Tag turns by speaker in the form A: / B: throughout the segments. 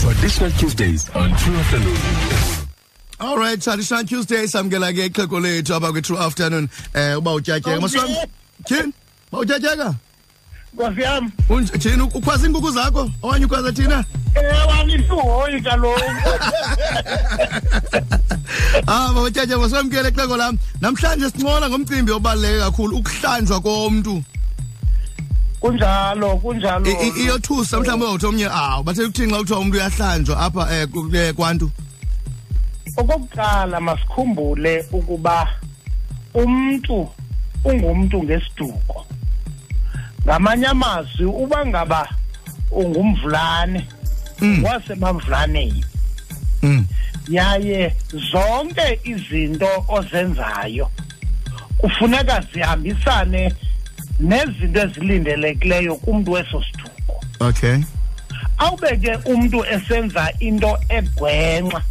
A: Traditional Tuesdays on True Afternoon.
B: All right, traditional Tuesday samkela ke ixhego lethu abakwe True Afternoon eh uba utyatyeka maswami. Tyhini, uba utyatyeka?
C: Nkosi yam,
B: Unje- Tyhini ukhwaza iinkukhu zakho? Okanye ukhwaza thina?
C: ewam isihoyi kaloku.
B: Ah, baba utyatyeka masamkele ixhego lam. Namhlanje sincola ngomcimbi obaluleke kakhulu ukuhlanjwa komuntu.
C: Kunjalo, kunjalo.
B: I- i- Iyothusa mhlawumbe uyothi omnye awu bathe kuthini xa kuthiwa umuntu uyahlanjwa apha eh ku- eh, kwantu.
C: Okokuqala masikhumbule ukuba umntu ungumntu ngesiduko. Ngamanye amazwi uba ngaba ungumvulane wasemamvulaneni
B: Mm.
C: yaye zonke izinto ozenzayo kufuneka zihambisane nezinto ezilindelekileyo kumntu weso siduko.
B: Okay.
C: awubeke umuntu esenza into egwenxa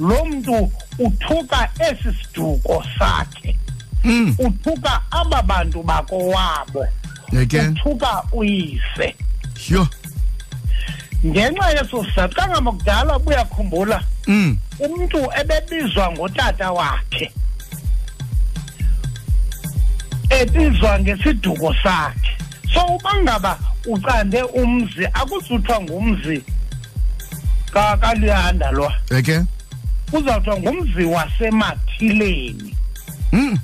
C: lo muntu uthuka esi siduko sakhe
B: Mm.
C: uthuka aba bantu bakowabo
B: Okay.
C: uthuka uyise
B: Yo.
C: ngenxa yeso sizathu kangama kudala buyakhumbula
B: Mm.
C: umntu ebebizwa ngotata wakhe ebizwa ngesiduko sakhe so ubangaba ucande umzi akuzuthwa ngumzi ka- kaluyanda lwa
B: Okay.
C: kuzawuthiwa ngumzi wasemathileni
B: Mm.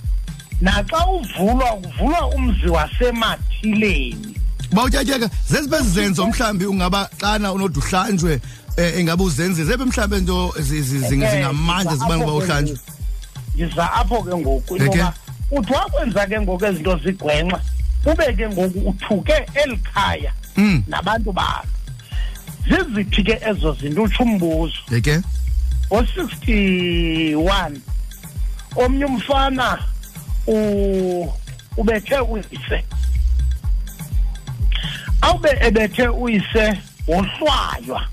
C: naxa uvulwa uvulwa umzi wasemathileni
B: bawutyatyeka zeziphi zizenzo mhlawumbi ungaba xana unode uhlanjwe um ingabe uzenze zephi mhlawumbi nto zi- zi- zi-
C: Eh,
B: zingamandla
C: ndiza
B: zibanga
C: apho
B: uba
C: ke
B: uhlanjwe
C: ngoku. ndiza apho ke ngoku intoba uthi wakwenza ke ngoku ezi nto zigwenxa ube ke ngoku uthuke eli khaya
B: Mm.
C: nabantu balo ziziphi ke ezo zinto utsho umbuzo
B: yeke
C: ngo-61 omnye umfana u- ubethe uyise awube ebethe uyise wohlwaywa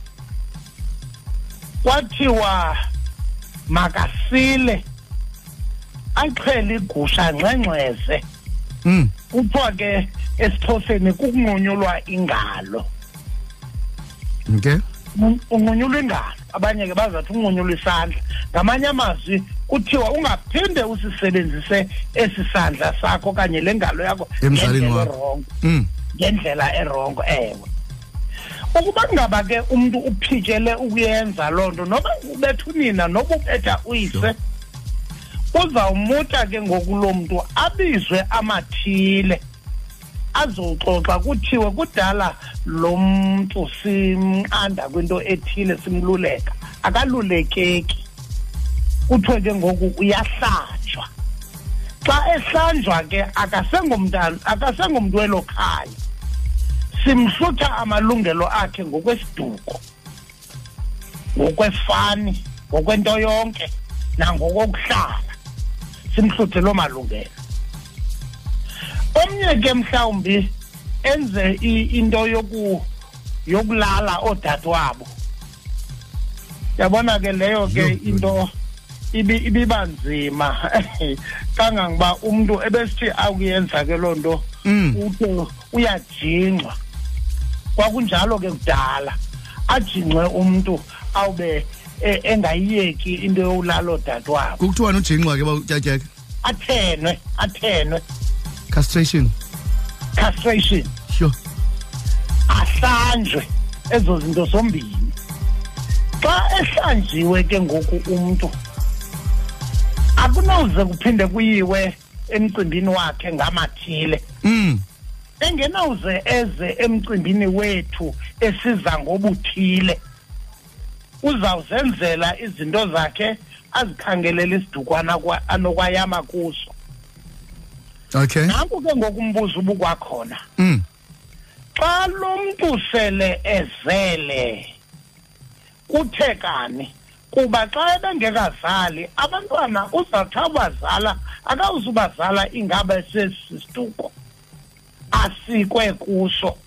C: kwathiwa makasile axhele igusha ngxengxeze
B: Mm.
C: kuthiwa ke esixhoseni kukunqunyulwa ingalo
B: okay
C: unqunyulwa ingalo abanye ke bazathi unqunyulwa isandla ngamanye amazwi kuthiwa ungaphinde usisebenzise esi sandla sakho okanye le ngalo yakho
B: Emzalini
C: ngendlela
B: wakho.
C: erongo
B: Mm.
C: ngendlela erongo ewe ukuba kungaba ke umntu uphitshele ukuyenza loo nto noba ubetha unina noba ubetha uyise uzawumuta ke ngoku loo mntu abizwe amathile azowuxoxa kuthiwe kudala lo mntu simqanda kwinto ethile simluleka akalulekeki kuthiwe ke ngoku uyahlanjwa xa ehlanjwa ke akasengomntana akasengomntu welo khaya simhlutha amalungelo akhe ngokwesiduko ngokwefani ngokwento yonke nangokokuhlala simhluthe loo malungelo omnye ke mhlawumbi enze i- into yoku yokulala odadewabo yabona ke leyo
B: Yho,
C: ke into ibi ibiba nzima kangangoba umntu ebesithi akuyenza ke loo nto
B: Mm.
C: uthi uyajingxwa kwakunjalo ke kudala ajingxe umntu awube e- engayiyeki into yowulalo dadewabo
B: kukuthiwani ujinxwa ke bawutyatyeka
C: athenwe athenwe
B: castration
C: castration
B: yo
C: ahlanjwe ezo zinto zombini xa ehlanjiwe ke ngoku umntu akunoze kuphinde kuyiwe emcimbini wakhe ngamathile
B: Mm.
C: engenawuze eze emcimbini wethu esiza ngobuthile uzawuzenzela izinto zakhe azikhangelela isidukwana kwa- anokwayama kuso
B: okay
C: nanku ke ngokumbuzo ubukwakhona
B: Mm.
C: xa lo mntu sele ezele kuthe kani kuba xa ebengekazali abantwana uzawuthi abazala akawuzubazala ingaba sesisituko asikwe kuso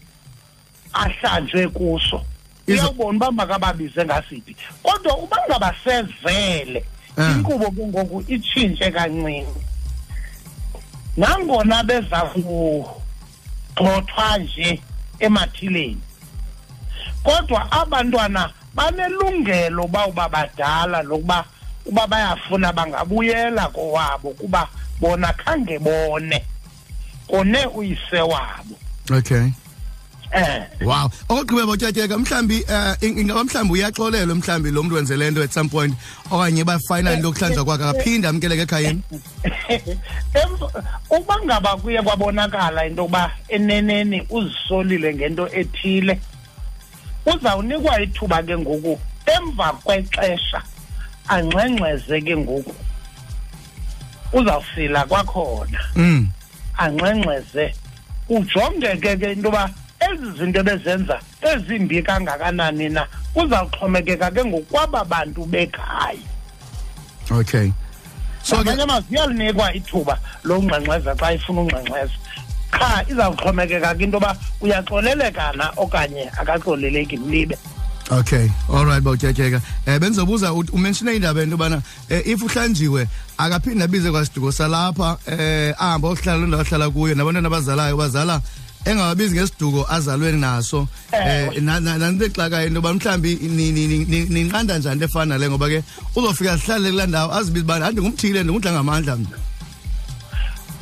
C: ahlanjwe kuso
B: Izo-
C: uyawubona uba makababize ngasiphi kodwa uba ngabasezele
B: Eh.
C: inkqubo ke ngoku itshintshe kancinci nangona beza kugxothwa nje emathileni kodwa abantwana banelungelo uba uba badala lokuba uba bayafuna bangabuyela kowabo kuba bona khange bone kone uyise wabo
B: okay
C: eh
B: wow okugqibela botyatyeka mhlawumbi eh, ing- ingaba mhlawumbi uyaxolelwa mhlawumbi lo mntu wenze nto at some point okanye ba finally lokuhlanjwa kwakhe
C: Eh,
B: aphinde amkeleke ekhayeni
C: Emva- uba ngaba kuye kwabonakala into yokuba eneneni uzisolile ngento ethile uzawunikwa ithuba ke ngoku emva kwexesha angxengxeze ke ngoku uzawusila kwakhona
B: mm.
C: angxengxeze ujongeke ke into yoba ezi zinto bezenza ezimbi kangakanani na uzawuxhomekeka ke ngokwaba bantu bekhaya
B: okay so
C: eh. ngamanye
B: ke
C: amazwi iyalinikwa ithuba longxengxeza xa ifuna ungxengxeza qha izawuxhomekeka kwinto yoba uyaxoleleka na okanye akaxoleleki mlibe
B: okay all right botyatyeka eh, bendizobuza ut- umenshine indaba into yobana eh, if uhlanjiwe akaphinde abize kwasiduko salapha eh, ahambe ohlala loo ndawo ahlala kuyo nabantwana abazalayo bazala engawabizi ngesiduko azalwe naso
C: Ewe.
B: eh, na- na- nanto exakayo into yoba mhlawumbi ni- ni- ni- ni- ninqanda njani into efana nale ngoba ke uzofika zihlale kulaa ndawo azibizi uba andingumthile ndingudlangamandla mna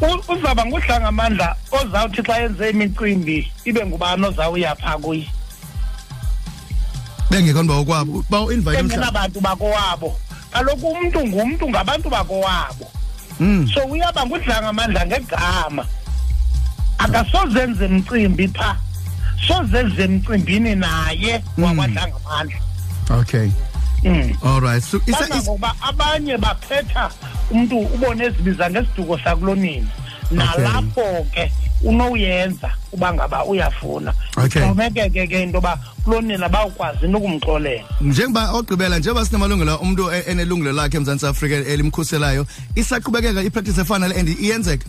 C: U- uzawuba ngudlangamandla ozawuthi xa yenze imicimbi ibe ngubani ozawuya phaa kuye
B: bengekho nto bawokwabo bawuinvayite mhlawumbi
C: bengenabantu bakowabo kaloku umntu ngumntu ngabantu bakowabo
B: Mm.
C: so uyaba ngudlangamandla ngegama akasozenze mcimbi phaa sozenze mcimbini naye wakwadlangamandla
B: okay
C: mm.
B: all right so isa- is-
C: kangangokuba abanye baphetha umntu ubone ezibiza ngesiduko sakulonini nalapho ke unowuyenza uba ngaba uyafuna
B: Okay.
C: xhomekeke ke into yoba kulonina bawukwazi nokumxolela
B: njengoba ogqibela njengoba sinamalungelo umntu e- enelungelo lakhe emzantsi afrika elimkhuselayo isaqhubekeka ipractice efana le and iyenzeka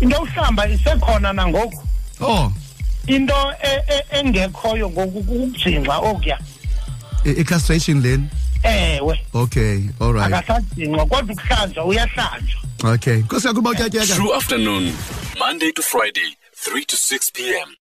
C: into yokuhlamba isekhona nangoku
B: oh
C: into e- e- engekhoyo ngoku kukujingxa okuya
B: i- i-castration leni
C: ewe
B: okay all right
C: akasajingxwa kodwa ukuhlanjwa uyahlanjwa
B: okay nkosi kakhulu uba utyatyeka
A: True afternoon, Monday to Friday, 3 to 6 p.m.